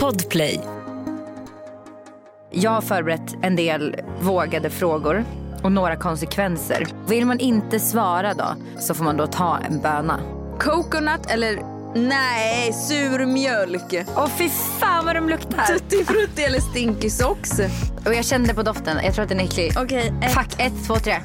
Podplay. Jag har förberett en del vågade frågor och några konsekvenser. Vill man inte svara då så får man då ta en böna. Coconut eller nej, surmjölk. Åh fy fan vad de luktar! Tutti frutti eller stinky socks. Och jag kände på doften, jag tror att den är äcklig. Okej, eh, okay, Fuck, ett, två, tre.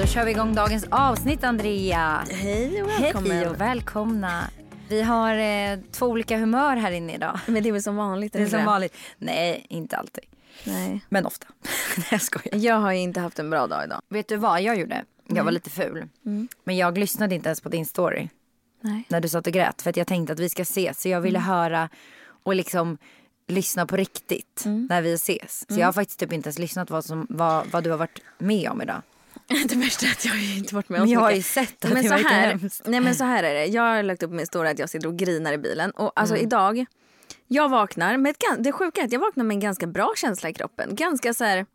Då kör vi igång dagens avsnitt Andrea. Hej och Hej välkommen. och välkomna. Vi har eh, två olika humör här inne idag. Men det är väl som vanligt? Det är som vanligt. Nej, inte alltid. Nej. Men ofta. Nej, jag skojar. Jag har ju inte haft en bra dag idag. Vet du vad jag gjorde? Jag var lite ful. Men jag lyssnade inte ens på din story Nej. när du satt och grät. För att jag tänkte att vi ska ses. Så jag ville höra och liksom lyssna på riktigt när vi ses. Så jag har faktiskt typ inte ens lyssnat vad, som, vad, vad du har varit med om idag. Det värsta är att jag har ju inte varit med om Men så jag har ju mycket. sett att Men det så, verkar här, hemskt. nej men så här är det. Jag har lagt upp min stora att jag sitter och grinar i bilen. Och alltså Mm. idag, jag vaknar med ett, gan- det sjuka är att jag vaknar med en ganska bra känsla i kroppen. Ganska så här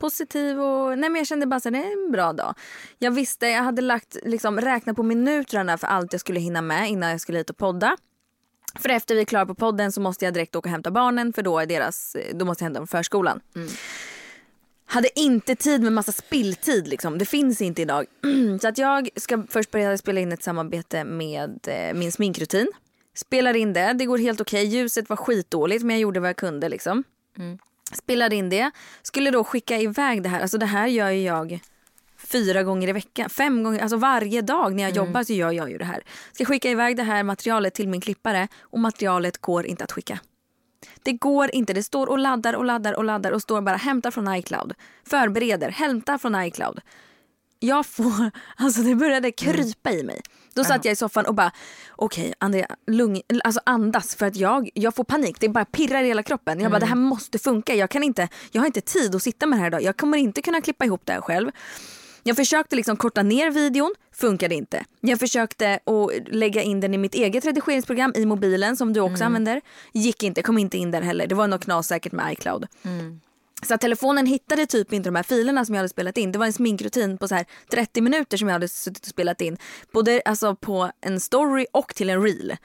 positiv och nej men jag kände bara att det är en bra dag. Jag visste, jag hade lagt, liksom, räknat på minuterna för allt jag skulle hinna med innan jag skulle hit och podda. För efter vi är klara på podden så måste jag direkt åka och hämta barnen för då, är deras, då måste jag hämta dem från förskolan. Hade inte tid med massa spilltid liksom. Det finns inte idag. så att jag ska först börja spela in ett samarbete med eh, min sminkrutin. Spelar in det. Det går helt okej. Ljuset var skitdåligt men jag gjorde vad jag kunde liksom. Spelade in det. Skulle då skicka iväg det här. Alltså det här gör ju jag fyra gånger i veckan. Fem gånger, alltså varje dag när jag jobbar så gör jag ju det här. Ska skicka iväg det här materialet till min klippare och materialet går inte att skicka. Det går inte. Det står och laddar och laddar och laddar och står bara hämta från iCloud. Förbereder, hämta från iCloud. Jag får, alltså det började krypa i mig. Då satt jag i soffan och bara, okej Andrea, lugn, alltså andas för att jag, jag får panik. Det bara pirrar i hela kroppen. Jag bara, det här måste funka. Jag kan inte, jag har inte tid att sitta med det här idag. Jag kommer inte kunna klippa ihop det här själv. Jag försökte liksom korta ner videon, funkade inte. Jag försökte att lägga in den i mitt eget redigeringsprogram i mobilen som du också använder. Gick inte, kom inte in där heller. Det var något knas säkert med iCloud. Så att telefonen hittade typ inte de här filerna som jag hade spelat in. Det var en sminkrutin på så här 30 minuter som jag hade suttit och spelat in. Både alltså på en story och till en reel.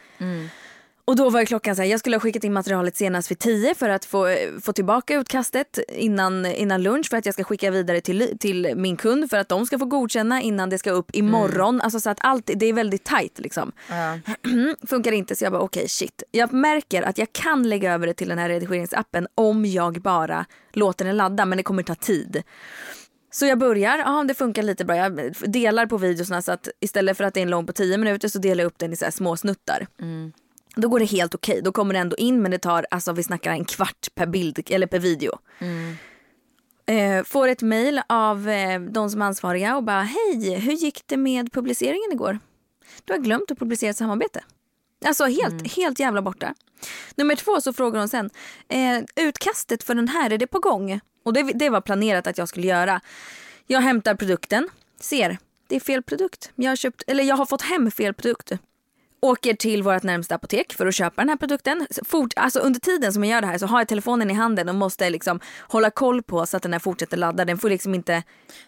Och då var ju klockan så här, jag skulle ha skickat in materialet senast vid 10 för att få, få tillbaka utkastet innan, innan lunch för att jag ska skicka vidare till, till min kund för att de ska få godkänna innan det ska upp imorgon. Alltså så att allt, det är väldigt tajt liksom. Funkar inte så jag bara okej shit. Jag märker att jag kan lägga över det till den här redigeringsappen om jag bara låter den ladda men det kommer ta tid. Så jag börjar, ja det funkar lite bra. Jag delar på videorna så att istället för att det är en lång på 10 minuter så delar jag upp den i så här små snuttar. Då går det helt okej. Då kommer det ändå in men det tar, alltså vi snackar en kvart per bild eller per video. Eh, får ett mejl av eh, de som är ansvariga och bara hej, hur gick det med publiceringen igår? Du har glömt att publicera ett samarbete. Alltså helt, helt jävla borta. Nummer två så frågar hon sen, eh, utkastet för den här, är det på gång? Och det, det var planerat att jag skulle göra. Jag hämtar produkten, ser, det är fel produkt. Jag har, köpt, eller jag har fått hem fel produkt. Åker till vårt närmsta apotek för att köpa den här produkten. Så Fort, alltså under tiden som jag gör det här så har jag telefonen i handen och måste liksom hålla koll på så att den här fortsätter ladda. Den får liksom inte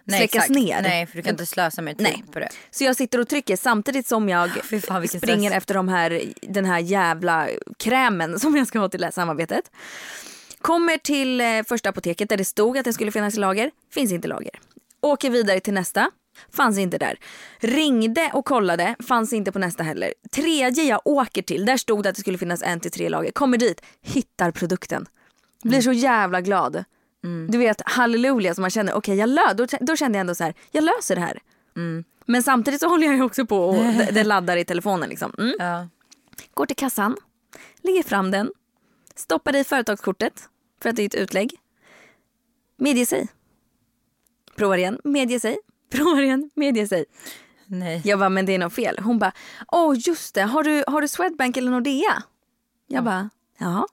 släckas exakt. ner. Nej, för du kan inte slösa mer tid Nej. på det. Så jag sitter och trycker samtidigt som jag Fy fan, vilken springer stress. efter de här, den här jävla krämen som jag ska ha till det här samarbetet. Kommer till eh, första apoteket där det stod att det skulle finnas i lager. Finns inte i lager. Åker vidare till nästa. Fanns inte där. Ringde och kollade. Fanns inte på nästa heller. Tredje jag åker till. Där stod det att det skulle finnas en till tre i lager. Kommer dit. Hittar produkten. Blir så jävla glad. Mm. Du vet halleluja som man känner. Okej jag lö- då, då kände jag ändå så här. Jag löser det här. Men samtidigt så håller jag ju också på och det- det laddar i telefonen. Liksom. Mm. Ja. Går till kassan, lägger fram den, stoppar i företagskortet för att det är ett utlägg. Medge sig. Provar igen, medge sig. Provar igen, medge sig. Nej. Jag bara, men det är något fel. Hon bara, åh just det, har du, har du Swedbank eller Nordea? Jag bara, ja.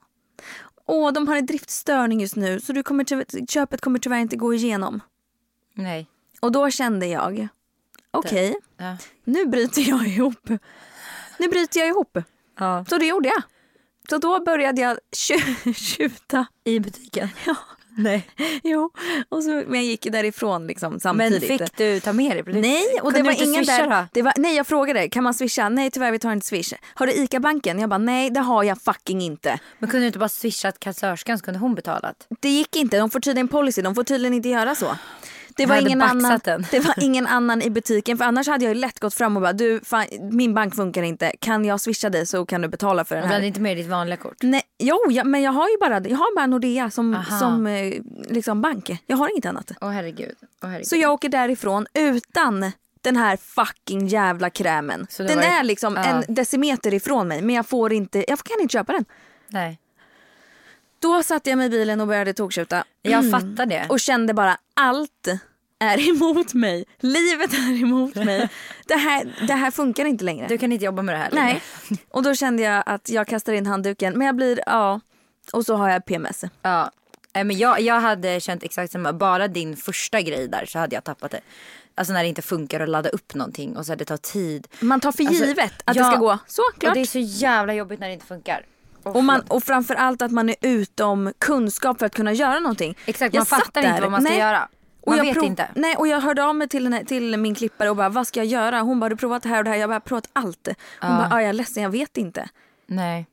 Åh, de har en driftstörning just nu så du kommer tyvärr, köpet kommer tyvärr inte gå igenom. Nej. Och då kände jag, okej. Ja. nu bryter jag ihop. Nu bryter jag ihop. Ja. Så det gjorde jag. Så då började jag tju- tjuta. I butiken. Ja. Nej. jo, och så, men jag gick därifrån liksom Men samtidigt. fick du ta med dig på det? Nej, och Kunde det du var inte ingen swisha där. då? Det var, nej, jag frågade kan man swisha? Nej, tyvärr vi tar inte swish. Har du ICA-banken? Jag bara nej, det har jag fucking inte. Men kunde du inte bara swishat kassörskan så kunde hon betalat? Det gick inte. De får tydligen policy. De får tydligen inte göra så. Det Jag var, hade ingen baxat annan, den. det var ingen annan i butiken för annars hade jag ju lätt gått fram och bara du fan, min bank funkar inte, kan jag swisha dig så kan du betala för den Och du här. hade inte med ditt vanliga kort? Nej, jo, jag, men jag har ju bara, jag har bara Nordea som, Aha. som eh, liksom bank. Jag har inget annat. Åh herregud. Åh, herregud. Så jag åker därifrån utan den här fucking jävla krämen. Så det Den var ju- är liksom ja. en decimeter ifrån mig men jag får inte, jag kan inte köpa den. Nej. Då satte jag mig i bilen och började tågskjuta. Jag fattar det. Och kände bara allt är emot mig. Livet är emot mig. Det här, det här funkar inte längre. Du kan inte jobba med det här Nej. längre. Och då kände jag att jag kastar in handduken men jag blir, ja. Och så har jag PMS. Ja. Nej, Men jag, jag hade känt exakt samma. Bara din första grej där så hade jag tappat det. Alltså när det inte funkar att ladda upp någonting och så här, det tar tid. Man tar för Alltså, givet att det ja. ska gå så klart. Och det är så jävla jobbigt när det inte funkar. Åh, Och, man, förlåt. och framförallt att man är utom kunskap för att kunna göra någonting. Exakt, Jag man fattar satt där. inte vad man ska Nej. göra. Och Man jag vet prov- inte. Nej, och jag hörde av mig till, den här, till min klippare och bara vad ska jag göra? Hon bara har du provat det här och det här? Jag bara "Jag har provat allt. Hon Ja. bara "Ah, jag är ledsen jag vet inte. Nej.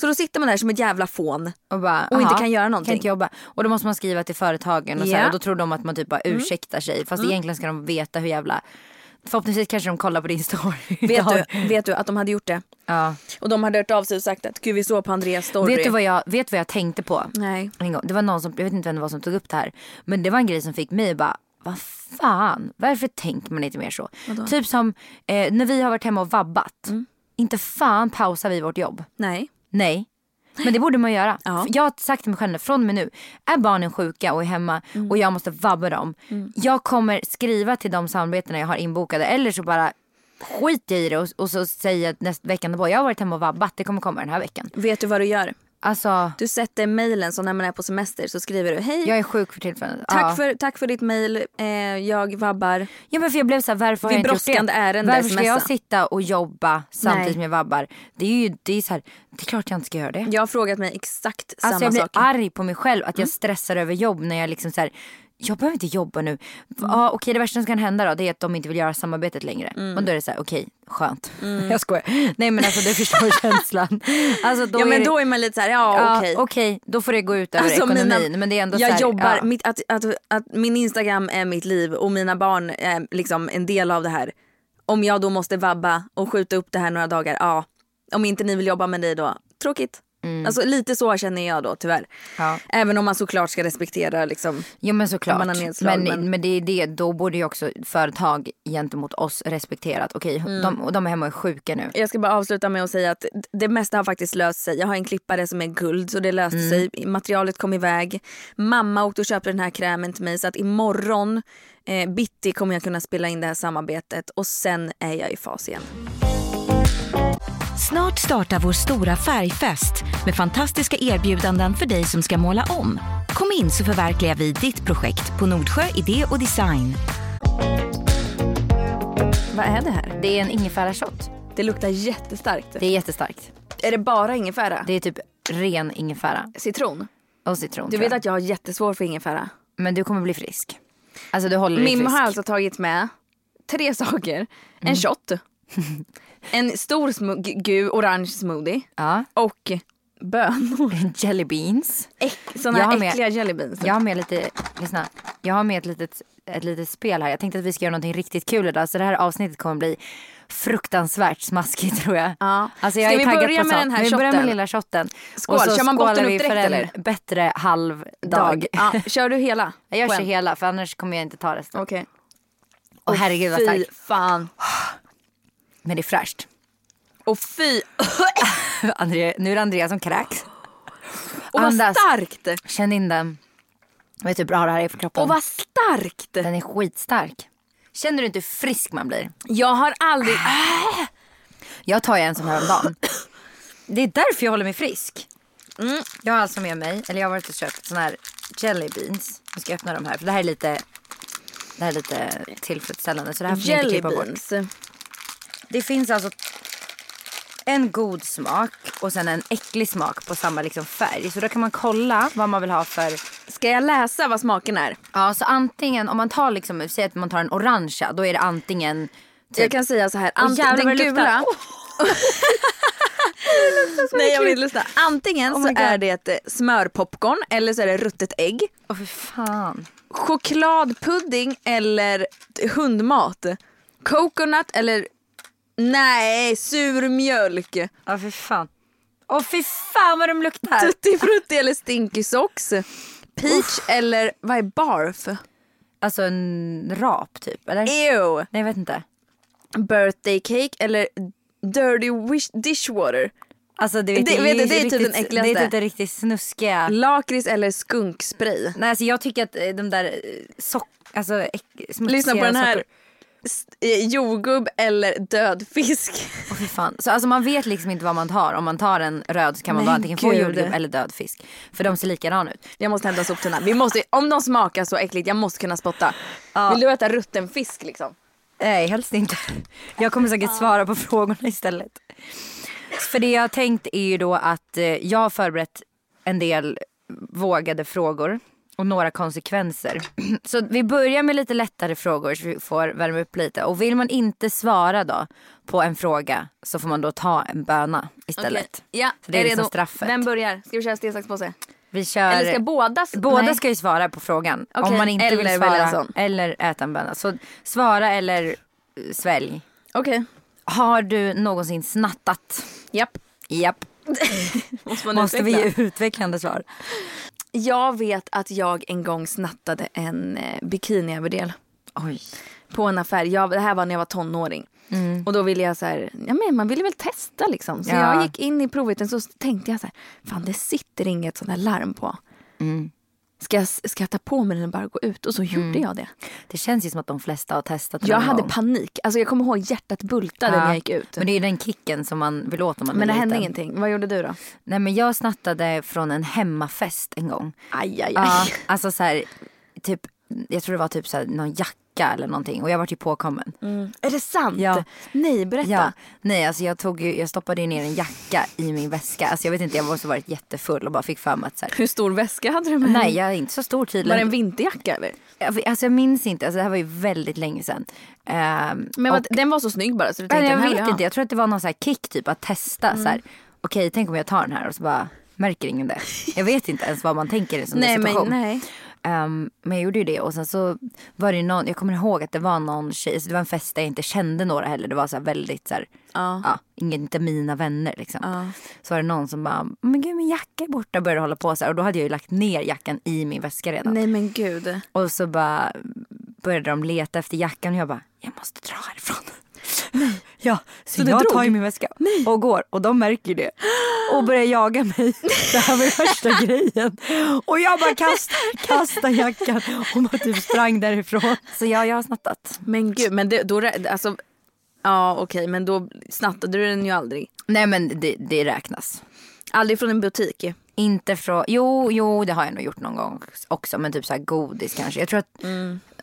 Så då sitter man där som ett jävla fån. Och, bara, Och inte aha, kan göra någonting. Kan inte jobba. Och då måste man skriva till företagen och, så Ja. här, Mm. och då tror de att man typ bara ursäktar sig. Fast egentligen ska de veta hur jävla... Förhoppningsvis kanske de kollar på din story. Vet idag. du, vet du att de hade gjort det? Ja. Och de hade hört av sig och sagt att gud vi såg på Andreas story. Vet du vad jag, vet vad jag tänkte på? Nej. en gång. Det var någon som, jag vet inte vem det var som tog upp det här. Men det var en grej som fick mig att bara, vad fan, varför tänker man inte mer så? Typ som eh, när vi har varit hemma och vabbat. Mm. Inte fan pausar vi vårt jobb. Nej. Nej. Men det borde man göra. Ja. För Jag har sagt till mig själv från och med nu, är barnen sjuka och är hemma Mm. och jag måste vabba dem. Jag kommer skriva till de samarbetena jag har inbokade eller så bara skiter jag i det och, och så säger jag nästa veckan därpå, jag har varit hemma och vabbat, det kommer komma den här veckan. Vet du vad du gör? Alltså, Du sätter mejlen så när man är på semester så skriver du hej. jag är sjuk för tillfället. Tack, Ja. för, tack för ditt mejl, eh, jag vabbar. Ja men för jag blev så här, varför har Vid jag inte gjort brådskande det? ärende varför ska jag smsa? sitta och jobba samtidigt Nej. som jag vabbar? Det är ju det är så här, det är klart jag inte ska göra det. Jag har frågat mig exakt Alltså samma jag blir sak. Mm. arg på mig själv att jag stressar över jobb när jag liksom så här, jag behöver inte jobba nu. Mm. Ja, okej det värsta som kan hända då det är att de inte vill göra samarbetet längre. Men då är det så här, okej skönt. Mm. Jag skojar. Nej men alltså du förstår känslan. Alltså, då ja är men det, då är man lite så här, ja, ja, okej. Alltså, okej. då får det gå ut över ekonomin. men det är ändå jag så här, jobbar, ja. mitt, att, att, att min Instagram är mitt liv och mina barn är liksom en del av det här. Om jag då måste vabba och skjuta upp det här några dagar, ja. Om inte ni vill jobba med dig då, tråkigt. Mm. Alltså lite så känner jag då tyvärr. Ja. Även om man såklart ska respektera liksom. Jo men såklart. Man har nedslag, men, men- men... det är det, då borde ju också företag gentemot oss respektera att okej, Mm. de, och de är hemma och är sjuka nu. Jag ska bara avsluta med att säga att det mesta har faktiskt löst sig. Jag har en klippare som är guld så det löste sig. Materialet kom iväg. Mamma åkte och köpte den här krämen till mig så att imorgon eh, bitti kommer jag kunna spela in det här samarbetet och sen är jag i fas igen. Snart startar vår stora färgfest med fantastiska erbjudanden för dig som ska måla om. Kom in så förverkligar vi ditt projekt på Nordsjö Idé och Design. Vad är det här? Det är en ingefärashot. Det luktar jättestarkt. Det är jättestarkt. Är det bara ingefära? Det är typ ren ingefära Citron? och citron. Du tror vet jag. att jag har jättesvårt för ingefära. Men du kommer bli frisk. Alltså du håller dig Mimmo frisk. har alltså tagit med tre saker. En shot, en stor smu- gu- gul orange smoothie Ja. och bönor. Jelly beans. Äck, Jag har såna med- äckliga jelly beans. Jag har med lite, lyssna. Jag har med ett litet, ett litet spel här. Jag tänkte att vi ska göra någonting riktigt kul idag. Så det här avsnittet kommer bli fruktansvärt smaskigt tror jag. Ja. Alltså jag Ska är vi taggad börja på med sånt. den här Vi börjar med shotten? lilla shotten. Skål. Och så Kör man botten skålar vi upp direkt, för en eller? bättre halv dag. dag. Ja, kör du hela? Jag På kör en? hela för annars kommer jag inte ta resten. Okej. Åh herregud vad Fy starkt. fan. Men det är fräscht. Och fy. André, nu är det Andrea som kräks. Och vad Andas. starkt. Känn in den. Vet du hur bra det här är för kroppen? Och vad starkt. Den är skitstark. Känner du inte hur frisk man blir? Jag har aldrig. Äh, Jag tar ju en sån här om dagen. Det är därför jag håller mig frisk. Jag har alltså med mig, eller jag har varit och köpt såna här jelly beans. Jag ska öppna de här för det här är lite, det här är lite tillfredsställande. Så det här får ni inte Jelly klippa bort. beans. Det finns alltså en god smak och sen en äcklig smak på samma liksom färg. Så då kan man kolla vad man vill ha för... Ska jag läsa vad smaken är? Ja, så antingen om man tar liksom, säg att man tar en orangea, då är det antingen... typ Jag kan säga så här, ant- jävlar den vad det luktar. gula. Nej jag vill inte lyssna. Antingen Oh så my God. är det ett eh, smörpopcorn eller så är det ruttet ägg. Åh för fan. Chokladpudding eller t- hundmat. Coconut eller nej surmjölk. Åh för fan. Åh fy fan vad de luktar. Tutti frutti eller stinky socks. Peach eller vad är barf? Alltså en rap typ, eller? Ew. Nej jag vet inte. Birthday cake eller dirty wish- dishwater. Alltså det, vet, Det- vet du, det är typ riktigt, den äckligaste. Det är typ den riktigt snuskiga. Äh. Lakrits eller skunkspray. Nej alltså jag tycker att eh, de där eh, sock... Alltså äck, smutsiga Lyssna på den här. socker- St- eh, Jordgubb eller död fisk. Åh, fy fan. Så alltså man vet liksom inte vad man tar. Om man tar en röd så kan man Nej, bara antingen få gud. jordgubb eller död fisk. För de ser likadana ut. Jag måste hämta soptunnan. Vi måste, om de smakar så äckligt, jag måste kunna spotta. Vill du äta rutten fisk liksom? Nej, helst inte. Jag kommer säkert svara på frågorna istället. För det jag har tänkt är ju då att eh, jag har förberett en del vågade frågor och några konsekvenser. Så vi börjar med lite lättare frågor så vi får värma upp lite. Och vill man inte svara då på en fråga så får man då ta en böna istället. Ja, Så det är jag liksom straffet. Vem börjar? Ska vi köra sten, sax, påse? Vi kör... Eller ska båda? s- Båda Nej. ska ju svara på frågan. Okej, Om man inte eller vill välja en svara sån. eller äta en böna. Så svara eller eh, svälj. Okej. Har du någonsin snattat? Japp. Japp. Måste, man Måste vi utveckla? ge utvecklande svar? Jag vet att jag en gång snattade en eh, bikiniöverdel. Oj. på en affär. Jag, det här var när jag var tonåring. Och då ville jag så här, ja men man ville väl testa liksom. Så Mm. Ja. jag gick in i provytan så tänkte jag så här, fan det sitter inget sånt här larm på. Mm. Ska, jag, ska jag ta på mig den och bara gå ut? Och så gjorde jag det. Det känns ju som att de flesta har testat Jag någon hade Mm. gång. panik. Alltså jag kommer ihåg hjärtat bultade när jag gick ut. Men Men det, det är ju den kicken som man vill åt om man är hände liten. ingenting. Vad gjorde du då? Nej men jag snattade från en hemmafest en gång. Aj, aj, aj. Ja, alltså så här, typ, jag tror det var typ så här, någon jacka eller någonting och jag var ju påkommen. Mm. Är det sant? Ja. Nej, berätta. Ja, nej alltså jag, tog ju, jag stoppade ju ner en jacka i min väska. Alltså jag vet inte, jag måste ha varit jättefull och bara fick för mig att så här, Hur stor väska hade du med dig? nej jag är inte så stor Var tydligen. det en vinterjacka eller? Jag- Alltså jag minns inte, alltså det här var ju väldigt länge sedan. Ehm, Men och, vad- den var så snygg bara så du tänkte nej, jag den här vill vet ha. Mm. inte, jag tror att det var någon så här kick typ att testa så här. Okej, tänk om jag tar den här och så bara märker ingen det. Jag vet inte ens vad man tänker i en sån där Nej situation. men nej. Ehm, men jag gjorde ju det och sen så var det ju någon, jag kommer ihåg att det var någon tjej, så det var en fest där jag inte kände några heller. Det var så här väldigt så här, Ja. ja, ingen, inte mina vänner liksom. Ja. Så var det någon som bara, men gud min jacka är borta och började hålla på så här. Och då hade jag ju lagt ner jackan i min väska redan. Nej men gud. Och så bara började de leta efter jackan och jag bara, jag måste dra härifrån. Ja, så, du jag drog? tar ju min väska och går och de märker ju det och börjar jaga mig. Det här var ju värsta grejen. Och jag bara kastar, kastar jackan och bara typ sprang därifrån. Så ja, jag har snattat. Men gud, men det, då, rä- alltså, ja okej men då snattade du den ju aldrig. Nej men det, det räknas. Aldrig från en butik. Inte från, jo, jo det har jag nog gjort någon gång också men typ så här godis kanske. Jag tror att,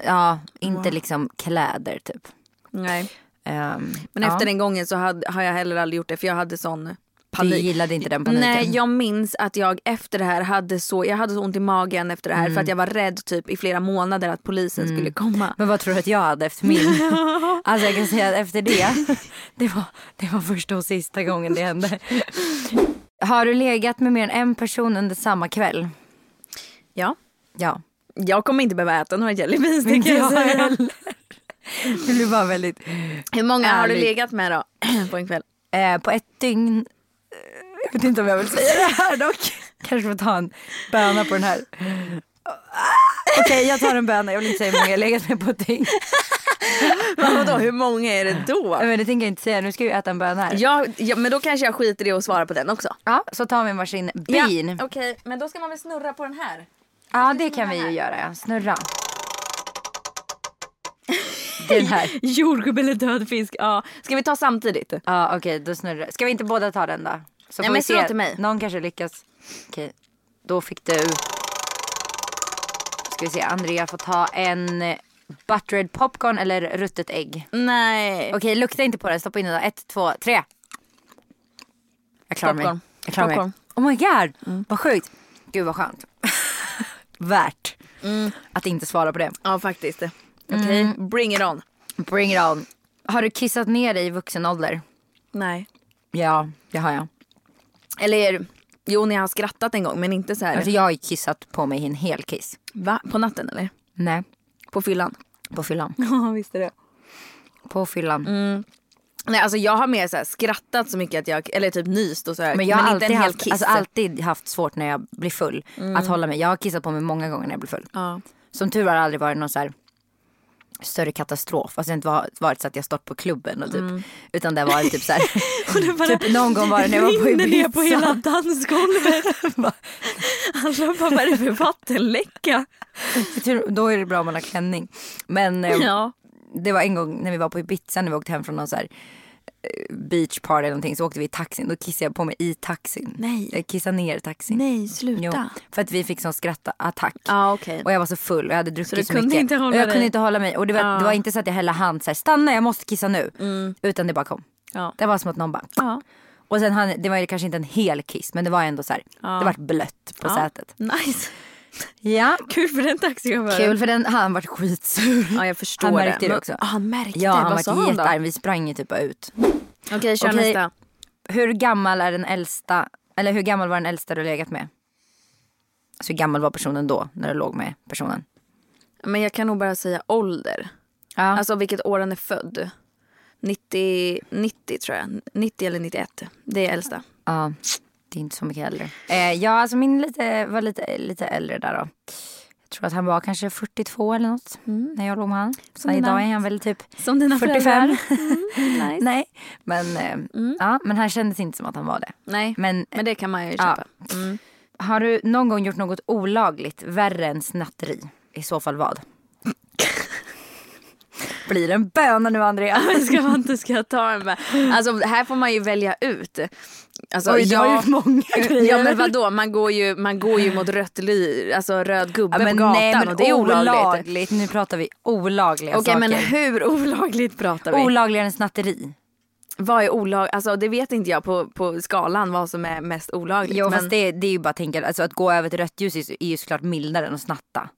ja, inte liksom kläder typ. Nej. Ehm, Men ja. efter den gången så hade, har jag heller aldrig gjort det för jag hade sån Du panik. gillade inte den paniken? Nej jag minns att jag efter det här hade så, jag hade så ont i magen efter det här för att jag var rädd typ i flera månader att polisen skulle komma. Men vad tror du att jag hade efter min? Alltså jag kan säga att efter det, det var, det var första och sista gången det hände. Har du legat med mer än en person under samma kväll? Ja. Ja. Jag kommer inte behöva äta några jelly beans det kan jag jag säga. Det blir bara väldigt... Hur många har du Ärligt. legat med då på en kväll? Eh, på ett dygn, eh, jag vet inte om jag vill säga det här dock. Kanske får ta en böna på den här. Ah, Okej jag tar en böna, jag vill inte säga hur många jag har legat med på ett dygn. Men vadå hur många är det då? Men det tänker jag inte säga, nu ska vi äta en böna här. Ja, ja, men då kanske jag skiter i att svara på den också. Ja, så tar vi en varsin bin. Ja, Okej, men då ska man väl snurra på den här? Ja, det kan vi ju göra. Ja. Snurra. Den här. Ja, Jordgubb eller död fisk? Ja. Ska vi ta samtidigt? okej, då snurrar Ska vi inte båda ta den då? Så Nej, får vi men slå se. till mig. Någon kanske lyckas. Okej, då fick du. Ska vi se, Andrea får ta en eh, buttered popcorn eller ruttet ägg. Nej. Okej, lukta inte på den. Stoppa in den då. Ett, två, tre. Jag klarar Popcorn. mig. Jag klarar Popcorn. mig. Oh my god, vad sjukt. Gud vad skönt. Värt att inte svara på det. Ja, faktiskt. Mm. Okej, bring it on. Bring it on. Har du kissat ner dig i vuxen ålder? Nej. Ja, det har jag. Eller jo, när jag har skrattat en gång, men inte så här. Alltså jag har ju kissat på mig en hel kiss. Va? På natten eller? Nej, På fyllan? på fyllan. Ja, visst är det. På fyllan. Nej, alltså jag har mer så här skrattat så mycket att jag, eller typ nyst och så här. Men jag har alltid, inte en hel haft, kiss. alltså alltid haft svårt när jag blir full att hålla mig. Jag har kissat på mig många gånger när jag blir full. ja. Som tur har det aldrig varit någon så här större katastrof. Alltså det har inte va- varit så att jag stått på klubben och typ. Mm. Utan det var typ så här. typ någon gång var det när jag var på rinner ner Ibiza. på hela dansgolvet. Alla bara, vad är det för vattenläcka? Tur- Då är det bra om man har klänning. Men eh, Ja. det var en gång när vi var på Ibiza när vi åkte hem från någon så här eh, beach party eller någonting så åkte vi i taxin. Då kissade jag på mig i taxin. Nej. Jag kissade ner i taxin. Nej, sluta. Jo, för att vi fick sån skrattattack. Ja, okej. Och jag var så full och jag hade druckit Så så, du kunde mycket. inte hålla och jag dig? kunde inte hålla mig. Och det var, Ja. det var inte så att jag hällde hand så här, stanna jag måste kissa nu. Utan det bara kom. Ja. Det var som att någon bara. Mm. Ja. Och sen han, det var ju kanske inte en hel kiss men det var ändå så här. Det var blött på Ja. sätet. Nice. Ja. Kul för den taxichauffören. Kul för den, han vart skitsur. Ja, jag förstår Han det. märkte det Men- också. Ja, han märkte Ja det. han Vad sa vart han då? jättearg, vi sprang ju typ ut. Okej, kör Okej. nästa. Hur gammal är den äldsta, eller hur gammal var den äldsta du legat med? Alltså hur gammal var personen då när du låg med personen? Men jag kan nog bara säga ålder. Ja. Alltså vilket år han är född. 90, 90 tror jag. 90 eller 91. Det är äldsta. Ja, det är inte så mycket äldre. Eh, ja, alltså min lite, var lite, lite äldre där då. Jag tror att han var kanske 42 eller något när jag låg med han. Så dina- idag Mm. är han väl typ Som dina 45. nice. Nej. Nej, men, eh, ja, men han kändes inte som att han var det. Nej. Men, Men det kan man ju Ja. köpa. Mm. har du någon gång gjort något olagligt värre än snatteri? I så fall vad? Blir det en böna nu Andrea? Men ska man inte ska jag ta en med? Alltså här får man ju välja ut. Alltså, Oj, du har gjort många grejer. Ja men vadå, man går ju, man går ju mot rött ly, alltså röd gubbe Ja, men på gatan nej, men och det är olagligt. Nu pratar vi olagliga Okej saker. men hur olagligt pratar vi? Olagligare än snatteri. vad är olagligt? Alltså det vet inte jag på, på skalan vad som är mest olagligt. Jo men... fast det, det är ju bara att tänka, alltså att gå över till rött ljus är ju- är ju såklart mildare än att snatta.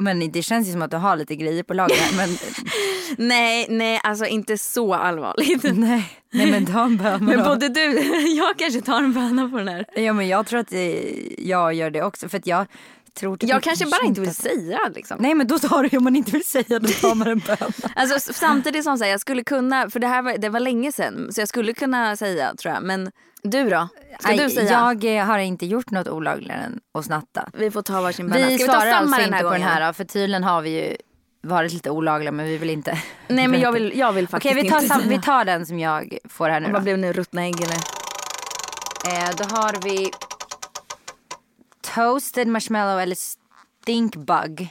Men det känns ju som att du har lite grejer på lager här, men Nej, nej, alltså inte så allvarligt. nej. Nej men ta en böna Men då. både du, jag kanske tar en böna på den här. Ja men jag tror att eh, jag gör det också för att jag tror typ Jag kanske bara inte vill att- säga liksom. Nej men då tar du, om man inte vill säga då tar man en böna. Alltså s- samtidigt som så här, jag skulle kunna, för det här var, det var länge sedan, så jag skulle kunna säga tror jag. Men du då? Ska du Nej, säga? Jag eh, har inte gjort något olagligare än att snatta. Vi får ta varsin böna. Vi Ska vi ta svarar samma alltså den inte här på gången? den här då, för tydligen har vi ju varit lite olagliga men vi vill inte. Nej men jag vill, jag vill faktiskt Okej vi tar, inte sam- vi tar den som jag får här nu då. Vad blev det nu, ruttna ägg eller? Eh, då har vi toasted marshmallow eller stink bug.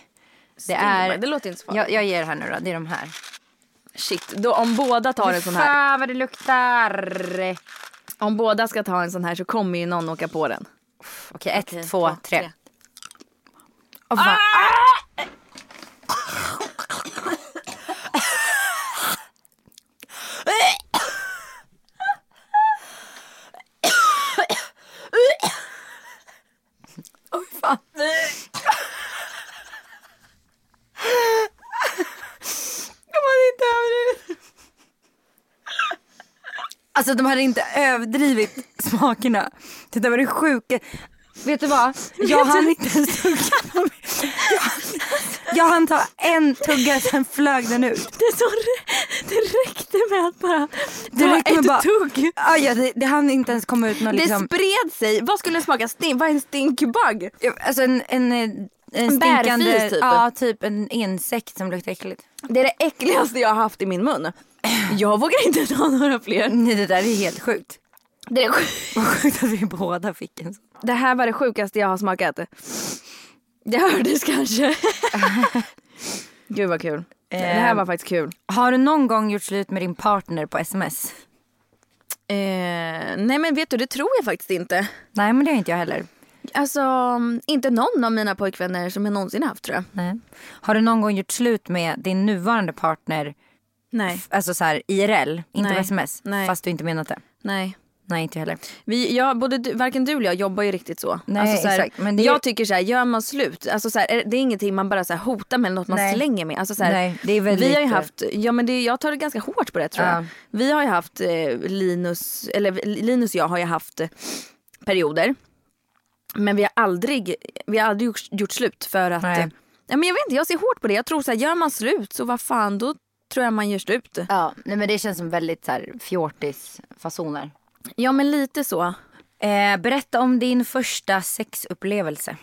Det, är, Det låter inte så farligt. jag, jag ger det här nu då, det är de här. Shit, då, om båda tar en sån här. Fan vad det luktar! Okej, Om båda ska ta en sån här så kommer ju någon åka på den. ett, Okej, två, två, tre. tre. Åh, fan. Åh, fan. Kan man inte överdriva? Alltså de hade inte överdrivit smakerna. Det var det sjuka. Vet du vad? Jag hann inte ens tugga på mig. Jag, jag hann ta en tugga sen flög den ut. Ah, Det, så, det räckte med att bara Det ta räckte med ett bara- tugg. Ah, ja, det, det hann inte ens komma ut någon liksom. Det spred sig. Vad skulle det smaka? Stink, vad är en stinkbug? Alltså en, en, eh, en stinkande, bärfis, typ. ja typ en insekt som luktar äckligt. Det är det äckligaste jag har haft i min mun. Jag vågar inte ta några fler. Nej det där är helt sjukt. Det, är Vad sjukt att vi båda fick en sån. det här var det sjukaste jag har smakat. Det hördes kanske. Gud vad kul. Det här Ehm. var faktiskt kul. Har du någon gång gjort slut med din partner på sms? Eh, nej men vet du, det tror jag faktiskt inte. Nej men det har inte jag heller. Alltså, inte någon av mina pojkvänner som jag någonsin haft tror jag. Nej. Har du någon gång gjort slut med din nuvarande partner Nej. alltså så här, IRL, inte Nej. på sms, Nej. fast du inte menat det? Nej. Nej inte jag heller. Vi, jag, både du, varken du eller jag jobbar ju riktigt så. Nej, alltså, så här, exakt, men det är- Jag tycker så här, gör man slut, alltså, så här, är- det är ingenting man bara så här, hotar med eller något man Nej. slänger med. Alltså, så här, Nej, det är väldigt- vi har ju haft, ja, men det, jag tar det ganska hårt på det tror jag. Ja. Vi har ju haft eh, Linus, eller Linus och jag har ju haft eh, perioder. Men vi har aldrig, vi har aldrig gjort, gjort slut för att, Nej. eh, ja, men jag vet inte, jag ser hårt på det. Jag tror så här, gör man slut så vad fan då tror jag man gör slut. Ja, nej men det känns som väldigt så här fjortisfasoner. Ja men lite så. Eh, berätta om din första sexupplevelse.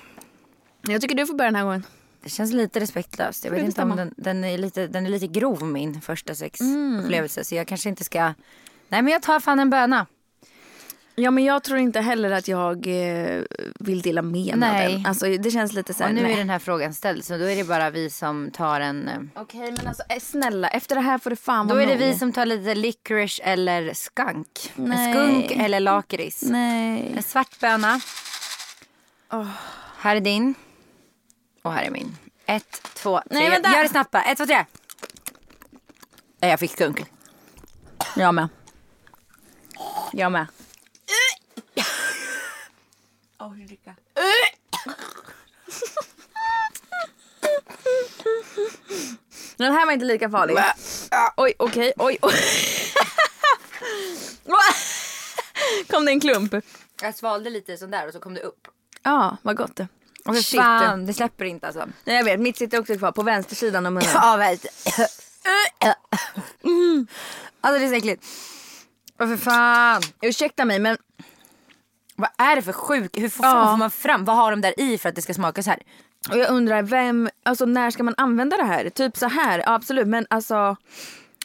Jag tycker du får börja den här gången. Det känns lite respektlöst. Jag vet inte om den, den, är lite, den är lite grov min första sexupplevelse. Så jag kanske inte ska... Nej men jag tar fan en böna. Ja men jag tror inte heller att jag eh, vill dela med mig Nej. av den. Alltså det känns lite såhär, Och nu nej. är den här frågan ställd så då är det bara vi som tar en... eh, Okej men alltså eh, snälla, efter det här får det fan Då vara är det nog. vi som tar lite licorice eller skunk. Nej. En skunk eller lakrits. Nej. Mm. En svart böna. Här är din. Och här är min. Ett, två, tre. Nej, vänta. Gör det snabbt bara. Ett, två, tre. Nej, jag fick skunk. Jag med. Jag med. Den här var inte lika farlig. Oj, okej, oj, oj. Kom det en klump? Jag svalde lite sån där och så kom det upp. Ja, vad gott det. Och för Shit. fan, det släpper inte alltså. Nej, jag vet, mitt sitter också kvar på vänstersidan av munnen. Ja, väl. Alltså det är så äckligt. Åh för fan. Ursäkta mig men Vad är det för sjuk? Hur får, fan Ja. får man fram? Vad har de där i för att det ska smaka så här? och jag undrar vem, alltså när ska man använda det här? Typ så här, ja, absolut men alltså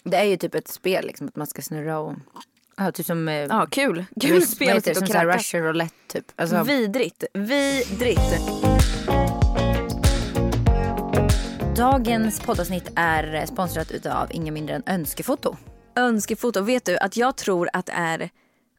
Det är ju typ ett spel liksom att man ska snurra och... Ja, typ som... eh, ja kul. vad Kul heter spel det? att sitta Som och så här kräkas. Russian roulette typ. Alltså, Vidrigt, vidrigt. Dagens poddavsnitt är eh, sponsrat utav ingen mindre än Önskefoto. Önskefoto, vet du att jag tror att det är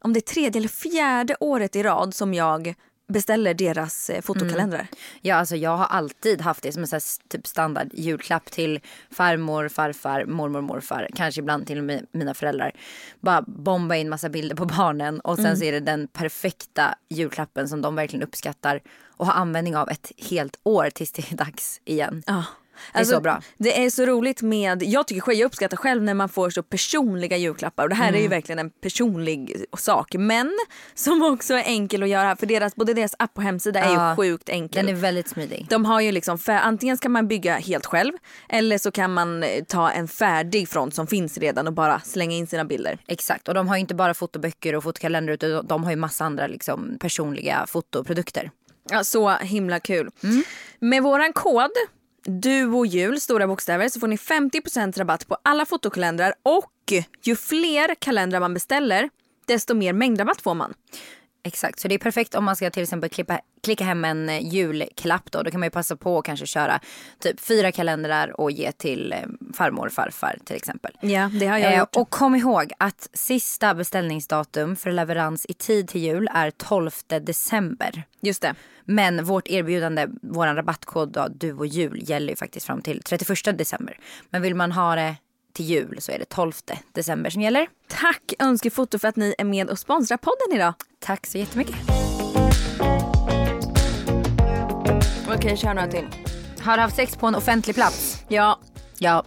om det är tredje eller fjärde året i rad som jag beställer deras eh, fotokalendrar. Ja, alltså jag har alltid haft det som en så här, s- typ standard julklapp till farmor, farfar, mormor, morfar. Kanske ibland till och med mina föräldrar. Bara bomba in massa bilder på barnen och sen så är det den perfekta julklappen som de verkligen uppskattar och har användning av ett helt år tills det är dags igen. Ja. Alltså, Det är så bra. Det är så roligt med, jag tycker själv, jag uppskattar själv när man får så personliga julklappar och det här är Mm. ju verkligen en personlig sak men som också är enkel att göra för deras, både deras app och hemsida är ju Ja. sjukt enkel. Den är väldigt smidig. De har ju liksom, fä- antingen ska man bygga helt själv eller så kan man eh, ta en färdig front som finns redan och bara slänga in sina bilder. Exakt, och de har ju inte bara fotoböcker och fotokalendrar utan de har ju massa andra liksom, personliga fotoprodukter. Ja, så himla kul. Med våran kod DUOJUL, stora bokstäver, så får ni 50% rabatt på alla fotokalendrar och ju fler kalendrar man beställer desto mer mängdrabatt får man. Exakt, så det är perfekt om man ska till exempel klippa, klicka hem en eh, julklapp då. Då kan man ju passa på att kanske köra typ fyra kalendrar och ge till eh, farmor och farfar till exempel. Mm. Ja, det har jag Eh, gjort. och kom ihåg att sista beställningsdatum för leverans i tid till jul är 12 december. Just det. Men vårt erbjudande, vår rabattkod då, du och jul gäller ju faktiskt fram till 31 december. Men vill man ha det till jul så är det 12 december som gäller. Tack Önskefoto för att ni är med och sponsrar podden idag. Tack så jättemycket. Okej, kör några till. Har du haft sex på en offentlig plats? Ja, Ja,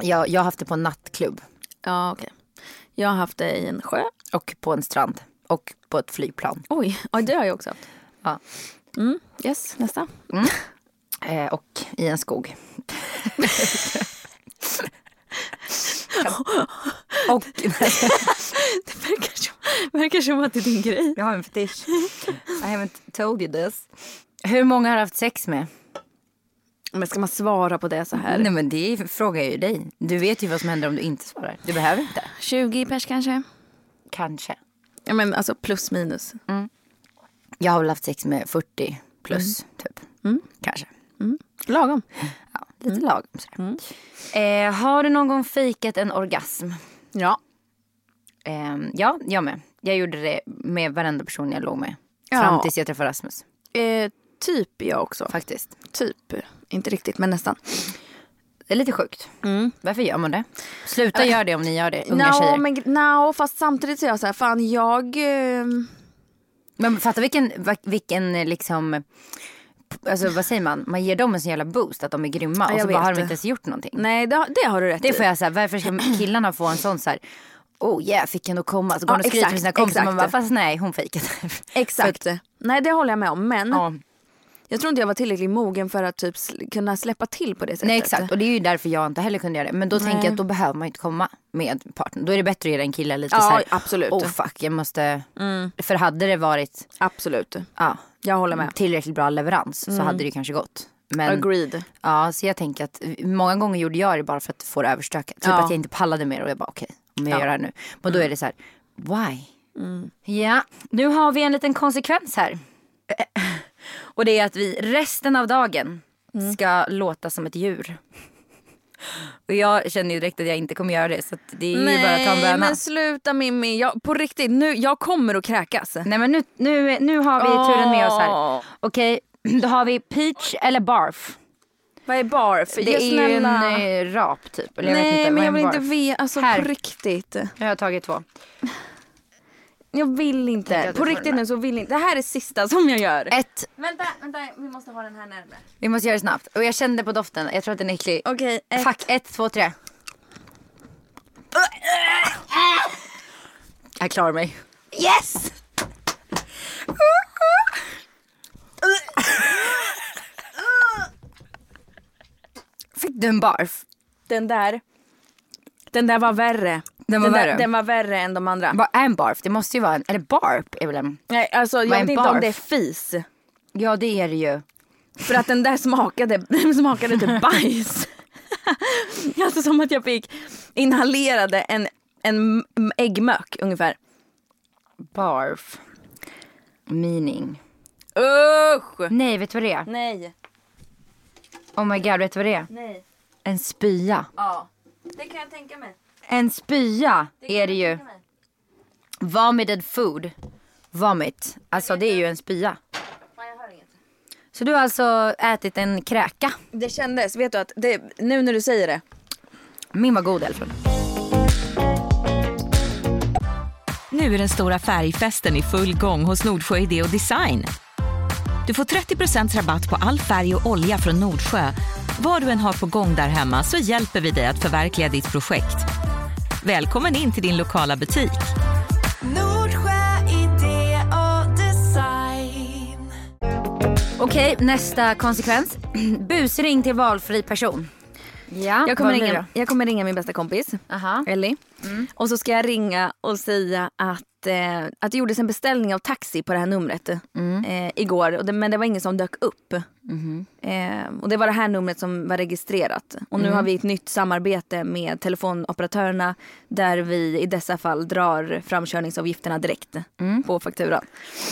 jag, jag har haft det på en nattklubb ja okej. Jag har haft det i en sjö. och på en strand och på ett flygplan. Oj, ja, det har jag också haft. Ja. Mm, yes, nästa. Eh, och i en skog. och Det verkar som, verkar som att det är din grej. jag har en fetisch. I haven't told you this. Hur många har du haft sex med? Men ska man svara på det så här? Nej men det frågar jag ju dig. Du vet ju vad som händer om du inte svarar. Du behöver inte. 20 pers kanske? Kanske. Ja men alltså plus minus. Jag har väl haft sex med 40 plus typ. Kanske. Lagom. Ja, lite lagom sådär. Eh, har du någon gång fejkat en orgasm? Ja. Eh, ja, jag med. Jag gjorde det med varenda person jag låg med. Ja. Fram tills jag träffade Rasmus. Eh, typ jag också. Faktiskt. Typ. Inte riktigt men nästan. Det är lite sjukt. Varför gör man det? Mm. Sluta göra det om ni gör det, unga Nå, tjejer. Men, men, nå, fast samtidigt så är jag så här, fan jag... eh, fatta vilken, va- vilken eh, liksom... Alltså vad säger man? Man ger dem en sån jävla boost att de är grymma Ja, och jag så bara vet har de det. inte ens gjort någonting. Nej, det, har- det har du rätt Det i. får jag säga, varför ska killarna få en sån så här Oh yeah, fick henne att komma. Så går Ja, hon och skryter exakt, med sina kompisar. Man bara, exakt. fast nej, hon fejkade. Exakt. Nej, det håller jag med om. Men ja. jag tror inte jag var tillräckligt mogen för att typ sl- kunna släppa till på det sättet. Nej exakt, och det är ju därför jag inte heller kunde göra det. Men då tänker jag att då behöver man ju inte komma med partner. Då är det bättre att ge en kille lite Ja, så här. absolut. Mm. Oh fuck, jag måste. För hade det varit Absolut. ja, Jag håller med. tillräckligt bra leverans Mm. så hade det ju kanske gått. Men Agreed. ja, så jag tänker att eh, många gånger gjorde jag det bara för att få det överstökat. Typ Ja. att jag inte pallade mer och jag bara okej, om jag gör det här nu. Men då är det så här, why? Mm. Ja, nu har vi en liten konsekvens här. Och det är att vi resten av dagen ska låta som ett djur. Och jag känner ju direkt att jag inte kommer göra det så att det är ju bara att ta en Nej, böna. men sluta Mimmi. Jag, på riktigt, nu, jag kommer att kräkas. Nej men nu, nu, nu har vi turen med oss här. Åh. Okej, då har vi peach eller barf. Vad är barf? Det är ju en eh, rap typ. Eller jag vet Nej, inte, men vad jag är en vill inte barf? veta. Alltså Här. på riktigt. Jag har tagit två. Jag vill Tänkte inte. att du På får den riktigt här. nu så vill inte. Det här är sista som jag gör. Ett. Eh, Vänta, vänta. Vi måste ha den här närmare. Vi måste göra det snabbt. Och jag kände på doften. Jag tror att den är äcklig. Okej, eh, ett. Fuck. Ett, två, tre. Jag klarar mig. Yes! Fick du en barf? Den där. Den där var värre. Den var där- värre? den var värre än de andra. Vad är en barf? Det måste ju vara en... Eller barp är väl en... Nej, alltså jag en vet inte om barf? det är fis. Ja det är det ju. För att den där smakade, den smakade typ bajs. alltså som att jag fick inhalerade en, en m- äggmök ungefär. Barf. Meaning. Usch! Nej vet du vad det är? Nej, Oh my god vet du vad det är? nej, En spya. ja. Det kan jag tänka mig. En spya är det ju. Vomited food. Vomit. Alltså det är ju en spya. Så du har alltså ätit en kräka. Det kändes, vet du att det, nu när du säger det. Min var god i alla fall. Nu är den stora färgfesten i full gång hos Nordsjö Idé och Design. Du får 30 rabatt på all färg och olja från Nordsjö. Vad du än har på gång där hemma så hjälper vi dig att förverkliga ditt projekt. Välkommen in till din lokala butik. Nordsjö idé och design. Okej, nästa konsekvens. Busring till valfri person. Ja, Jag kommer, vad blir ringa, jag kommer ringa min bästa kompis. det? Aha. Ellie. Och så ska jag ringa och säga att, eh, att det gjordes en beställning av taxi på det här numret eh, igår. Och det, men det var ingen som dök upp. Eh, och det var det här numret som var registrerat. Och nu har vi ett nytt samarbete med telefonoperatörerna där vi i dessa fall drar framkörningsavgifterna direkt på fakturan.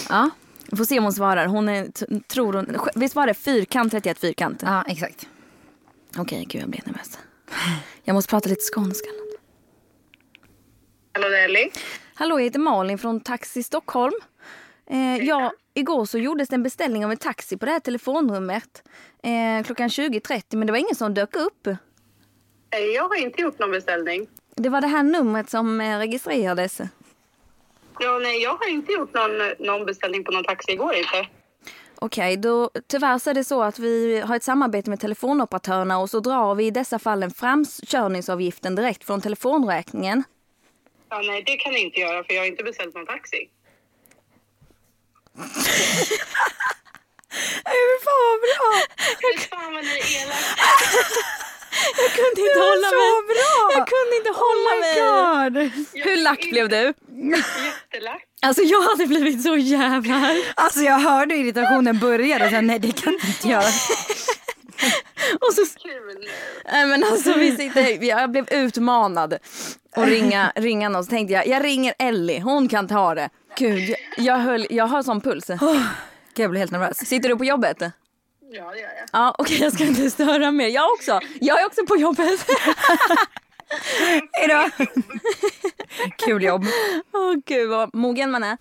Ja. Vi får se om hon svarar. Hon är, t- tror hon, visst var det fyrkant 31 fyrkant? Ja, exakt. Okej, gud jag blir nervös. Jag måste prata lite skånska. Hallå det är Ellie. Hallå, jag heter Malin från Taxi Stockholm. Eh, ja, igår så gjordes det en beställning av en taxi på det här telefonnumret eh, klockan 20.30 men det var ingen som dök upp. Eh, Jag har inte gjort någon beställning. Det var det här numret som eh, registrerades. Ja, nej, jag har inte gjort någon, någon beställning på någon taxi igår inte. Okej, då tyvärr så är det så att vi har ett samarbete med telefonoperatörerna och så drar vi i dessa fallen framkörningsavgiften direkt från telefonräkningen. Ja, nej, det kan jag inte göra för jag har inte beställt någon taxi. Hur fan bra! Fy fan vad ni är elaka. Jag kunde inte hålla mig. Jag kunde inte hålla mig. Oh God. Hur lack blev du? Jättelack. Alltså jag hade blivit så jävla arg. Alltså jag hörde irritationen börja och sen nej det kan du inte göra. Och så Kul. Nej men alltså vi sitter, jag blev utmanad att ringa, ringa någon så tänkte jag, jag ringer Ellie, hon kan ta det. Gud, jag, jag, höll, jag har sån puls. Gud, jag blir helt nervös. Sitter du på jobbet? Ja, det gör jag. Ja okej jag ska inte störa mer, jag också. Jag är också på jobbet. Hejdå. Kul jobb. Åh gud vad mogen man är.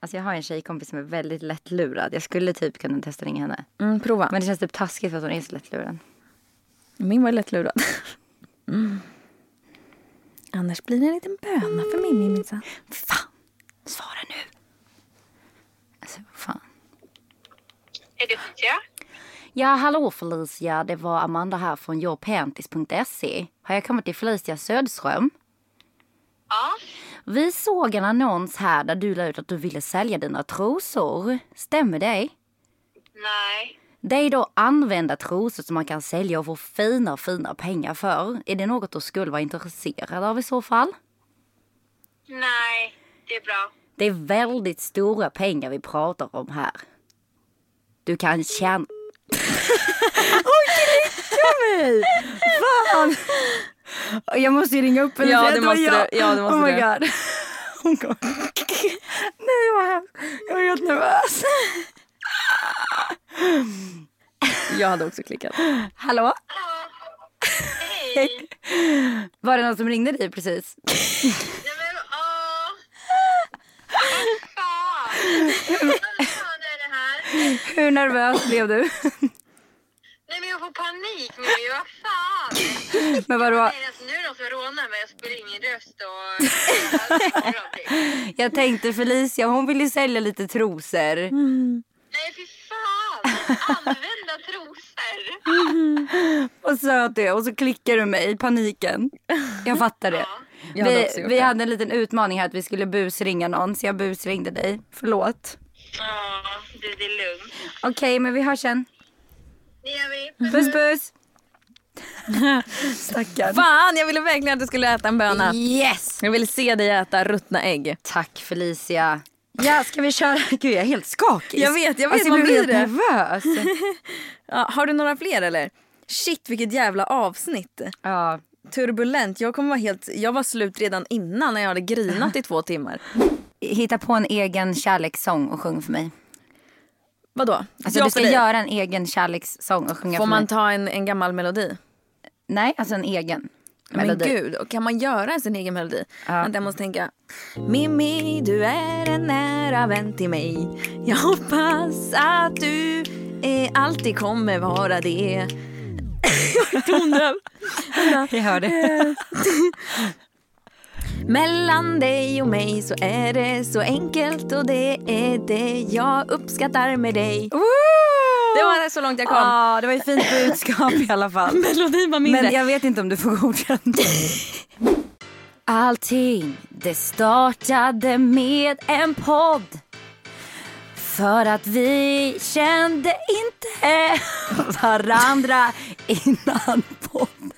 Alltså jag har en tjejkompis som är väldigt lättlurad. Jag skulle typ kunna testa ringa henne. Mm, prova. Men det känns typ taskigt för att hon är så lättlurad. Min var lätt lurad. Annars blir det en liten böna för Mimmi minsann. Fan, svara nu. Alltså, fan. Är det Fia? Ja, hallå Felicia. Det var Amanda här från yourpanties.se. Har jag kommit till Felicia Söderström? Ja. Vi såg en annons här där du la ut att du ville sälja dina trosor. Stämmer det? Nej. Det är då använda trosor som man kan sälja och få fina, fina pengar för. Är det något du skulle vara intresserad av i så fall? Nej. Det är bra. Det är väldigt stora pengar vi pratar om här. Du kan tjäna... Oj, knäcka mig! Fan! Jag måste ju ringa upp henne. Ja, för det att var måste jag. du. Ja, det måste oh my du. God. Hon kom. Nej, jag var hemskt. Jag var helt nervös. Jag hade också klickat. Hallå? Hej. Var det någon som ringde dig precis? Nej men åh! Vad fan! Vad fan är det här? Hur nervös blev du? Nej men jag får panik nu. Vad fan! Men vadå? Nej, alltså, nu är det någon som rånar mig. Jag spelar in min röst och... Alltså, morgonblick. Jag tänkte Felicia, hon vill ju sälja lite trosor. Nej fy fan! Använda trosor! Och sa att det och så klickar du mig i paniken. Jag fattar det. Jag hade vi också gjort vi det. hade en liten utmaning här att vi skulle busringa någon så jag busringde dig. Förlåt. Ja, du det är lugnt. Okej men vi hörs sen. Det gör vi. Puss puss. Stackarn. Fan, jag ville verkligen att du skulle äta en böna. Yes! Jag ville se dig äta ruttna ägg. Tack Felicia. Ja ska vi köra? Gud jag är helt skakig. Jag vet, jag vet, Alltså, man jag blir blir helt nervös. Ja, har du några fler eller? Shit vilket jävla avsnitt. ja. Turbulent. Jag kommer vara helt... Jag var slut redan innan när jag hade grinat i två timmar. Hitta på en egen kärlekssång och sjung för mig. Vadå? Alltså Ja, du för ska dig. göra en egen kärlekssång och sjunga Får för man mig. ta en, en gammal melodi? Nej, alltså en egen melodi. Men gud, och kan man göra sin egen melodi? Ja. Vänta, jag måste tänka. Mimmi, du är en nära vän till mig. Jag hoppas att du eh, alltid kommer vara det. Jag är tondöv. Jag hör det. Mellan dig och mig så är det så enkelt och det är det jag uppskattar med dig. Det var så långt jag kom. Ja, det var ju fint budskap i alla fall. Melodin var mindre. Men jag vet inte om du får godkänt. Allting det startade med en podd. För att vi kände inte varandra innan podden.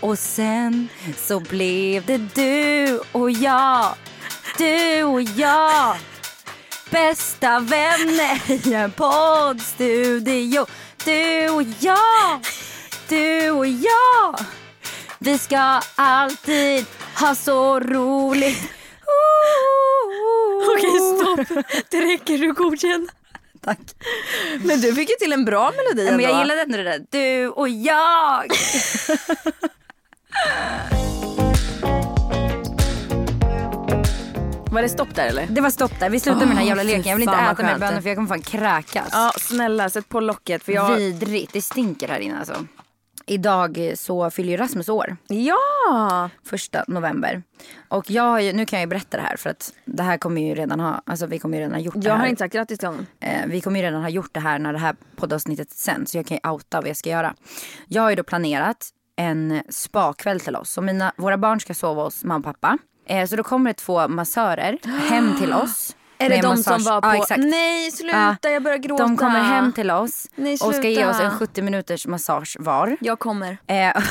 Och sen så blev det du och jag. Du och jag. Bästa vänner i en poddstudio. Du och jag. Du och jag. Vi ska alltid ha så roligt. Ooh. Okej, stopp. Det räcker. Du är godkänd. Tack. Men du fick ju till en bra melodi Men jag ändå. gillade ändå det där. Du och jag. Var det stopp där eller? Det var stopp där. Vi slutar med den här Åh, jävla fy leken. Jag vill inte fan, vad äta mer skönt. bönor för jag kommer fan kräkas. Ja, snälla sätt på locket för jag... Vidrigt. Det stinker här inne alltså. Idag eh, så fyller ju Rasmus år. Ja! första november. Och jag har ju, nu kan jag ju berätta det här för att det här kommer ju redan ha, alltså vi kommer ju redan ha gjort det Jag här. har inte sagt grattis till honom. Eh, vi kommer ju redan ha gjort det här när det här poddavsnittet sänds. Så jag kan ju outa vad jag ska göra. Jag har ju då planerat en spakväll till oss. Så mina, våra barn ska sova hos mamma och pappa. Eh, så då kommer det två massörer hem till oss. Är det med de massage- som var på... Ja, exakt. Nej sluta, Ja. jag börjar gråta. De kommer hem till oss Nej, och ska ge oss en sluta. 70 minuters massage var. Jag kommer. Eh,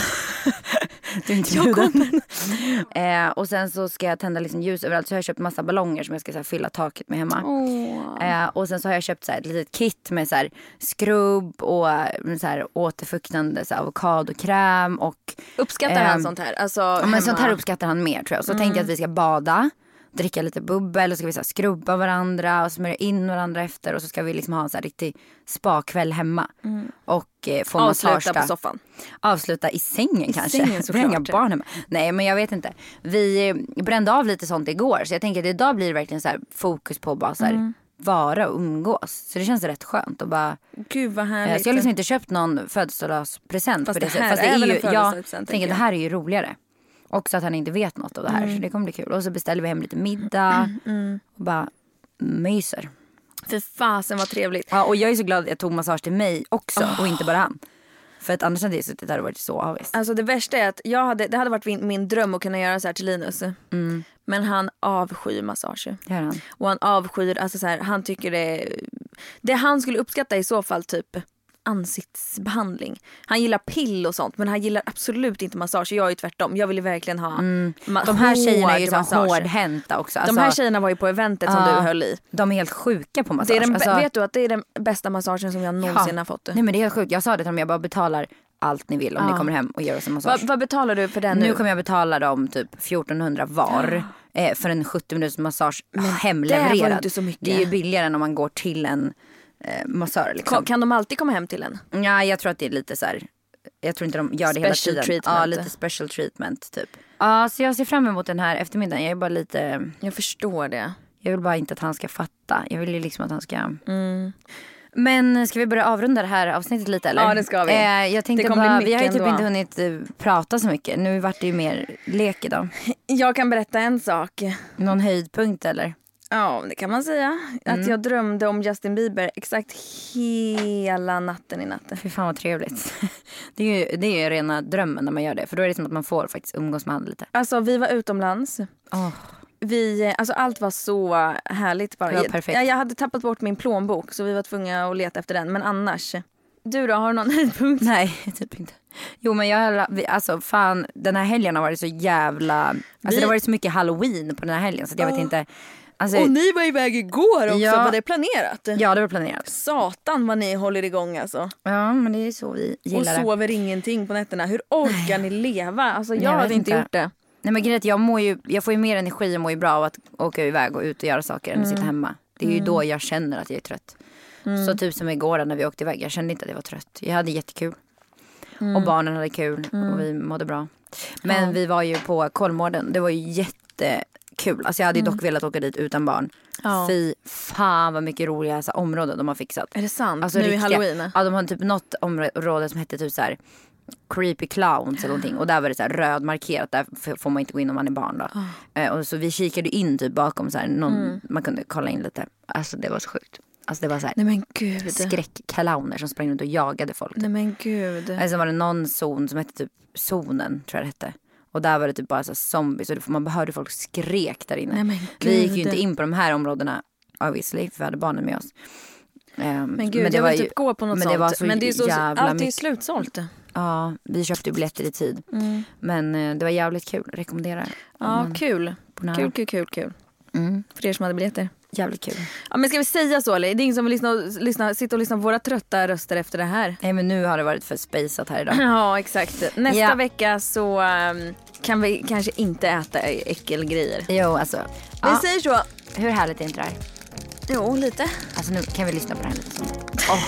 du är inte bjuden. Eh, och sen så ska jag tända liksom ljus överallt. Så jag har köpt massa ballonger som jag ska så här, fylla taket med hemma. Eh, och sen så har jag köpt så här, ett litet kit med så här, skrubb och eh, så här, återfuktande så här, avokadokräm. Och, Uppskattar Ehm, han sånt här? Alltså, ja, men sånt här uppskattar han mer tror jag. Så tänkte jag att vi ska bada. Dricka lite bubbel och så ska vi så här, skrubba varandra och smörja in varandra efter. Och så ska vi liksom ha en så här, riktig spakväll hemma. Och eh, få massage Avsluta där på soffan. avsluta i sängen kanske. sängen, det är såklart. inga barn hemma. Nej men jag vet inte. Vi eh, brände av lite sånt igår så jag tänker att idag blir det verkligen så här fokus på bara så här vara och umgås. Så det känns rätt skönt att bara Gud vad Eh, härligt. Så jag har liksom inte köpt någon födelsedagspresent Fast på det, det sättet. här Fast det är är väl en ju, jag Mm. födelsedagspresent, tänker tänker det jag. här är ju roligare. Också att han inte vet något av det här. Så det kommer bli kul. Och så beställer vi hem lite middag. Och bara myser. Fy fasen vad trevligt. Ja, och jag är så glad att jag tog massage till mig också. Och inte bara han. För att annars hade jag suttit där och varit så avis. Alltså det värsta är att jag hade, det hade varit min, min dröm att kunna göra så här till Linus. Mm. Men han avskyr massager. Det gör han. Och han avskyr, alltså så här, han tycker det Det han skulle uppskatta i så fall typ ansiktsbehandling. Han gillar pill och sånt men han gillar absolut inte massage. Jag är ju tvärtom. Jag vill ju verkligen ha ma- Mm. De här tjejerna är ju typ hård så massage. hårdhänta också. Alltså, De här tjejerna var ju på eventet som Ja. du höll i. de är helt sjuka på massage. Det är den, Alltså- Vet du att det är den bästa massagen som jag någonsin Ja. har fått? Nej men det är helt sjukt. Jag sa det till dem, jag bara betalar allt ni vill om Ja. ni kommer hem och gör oss en massage. Vad, vad betalar du för den nu? Nu kommer jag betala dem typ 1400 var eh, för en 70 minuters massage det var ju hemlevererad. inte så mycket. Det är ju billigare än om man går till en eh, massör. Ko- Liksom. Kan de alltid komma hem till en? Ja, jag tror att det är lite så här. Jag tror inte de gör det hela Special tiden. treatment. Ja, lite special treatment typ. Ja, så jag ser fram emot den här eftermiddagen. Jag är bara lite, Jag förstår det. jag vill bara inte att han ska fatta. Jag vill ju liksom att han ska. Mm. Men ska vi börja avrunda det här avsnittet lite eller? Ja, det ska vi. Eh, jag Det tänkte kommer bli bara, vi har ju mycket typ ändå. inte hunnit eh, prata så mycket. Nu vart det ju mer lek idag. Jag kan berätta en sak. Någon höjdpunkt eller? Ja, det kan man säga. Mm. Att jag drömde om Justin Bieber exakt hela natten i natten. Fy fan vad trevligt. Det är ju, det är ju rena drömmen när man gör det. För då är det som att man får faktiskt umgås med honom lite. Alltså vi var utomlands. Åh, Vi, alltså allt var så härligt bara. Det var perfekt. Jag, jag hade tappat bort min plånbok så vi var tvungna att leta efter den. Men annars. Du då, har du någon höjdpunkt? Nej, typ inte. Jo men jag har, vi- alltså fan den här helgen har varit så jävla, alltså Vi- det har varit så mycket halloween på den här helgen så att jag vet inte. Alltså, ni var iväg igår Ja. planerat? Ja det var planerat. Satan vad ni håller igång alltså. Ja men det är så vi Och gillar det. sover ingenting på nätterna. Hur orkar ni leva? Alltså jag, Jag vet hade inte inte. gjort det. Nej men grejen är att jag mår ju, jag får ju mer energi och mår ju bra av att åka iväg och ut och göra saker än att Mm. sitta hemma. Det är ju då jag känner att jag är trött. Så typ som igår när vi åkte iväg, jag kände inte att jag var trött. Jag hade jättekul. Mm. Och barnen hade kul och vi mådde bra. Men vi var ju på Kolmården, det var ju jättekul. Alltså jag hade ju dock velat åka dit utan barn. Mm. Ja. Fy fan vad mycket roliga alltså, områden de har fixat. Är det sant? Alltså nu i riktiga- halloween? Ja de har typ något område som hette typ så här creepy clowns eller någonting och där var det så här röd markerat där f- får man inte gå in om man är barn då. Ah. Eh, och så vi kikade in typ bakom så här någon, Mm. man kunde kolla in lite. Alltså det var så sjukt. Alltså det var så här Nej men gud. skräckclowner som sprang runt och jagade folk. Nej men gud. Eller så var det någon zon som hette typ zonen tror jag det hette. Och där var det typ bara så här zombies och det- man hörde folk skrek där inne. Nej, men vi gick ju gud. inte in på de här områdena obviously för vi hade barnen med oss. Ehm, Men gud, jag vill typ gå på något men sånt. Det var så men det är så, jävla allt är ju mycket. slutsålt. Ja, vi köpte ju biljetter i tid. Mm. Men eh, det var jävligt kul, rekommenderar. Ja, kul. På nära. Kul, kul, kul, kul. Mm. För er som hade biljetter. Jävligt kul. Ja, men ska vi säga så eller? Det är ingen som vill lyssna och, lyssna, sitta och lyssna på våra trötta röster efter det här. Nej men nu har det varit för spejsat här idag. Ja, exakt. Nästa Ja. vecka så ehm, kan vi kanske inte äta äckelgrejer. Jo alltså, Vi ja, säger så. hur härligt är inte det här? Jo, lite. Alltså nu kan vi lyssna på det här lite. Åh.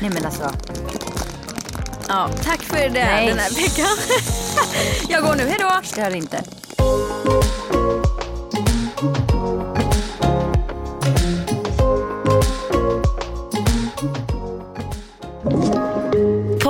Nej men alltså. Ja, tack för det, Nej. den här veckan. jag går nu, hejdå! Gör det inte.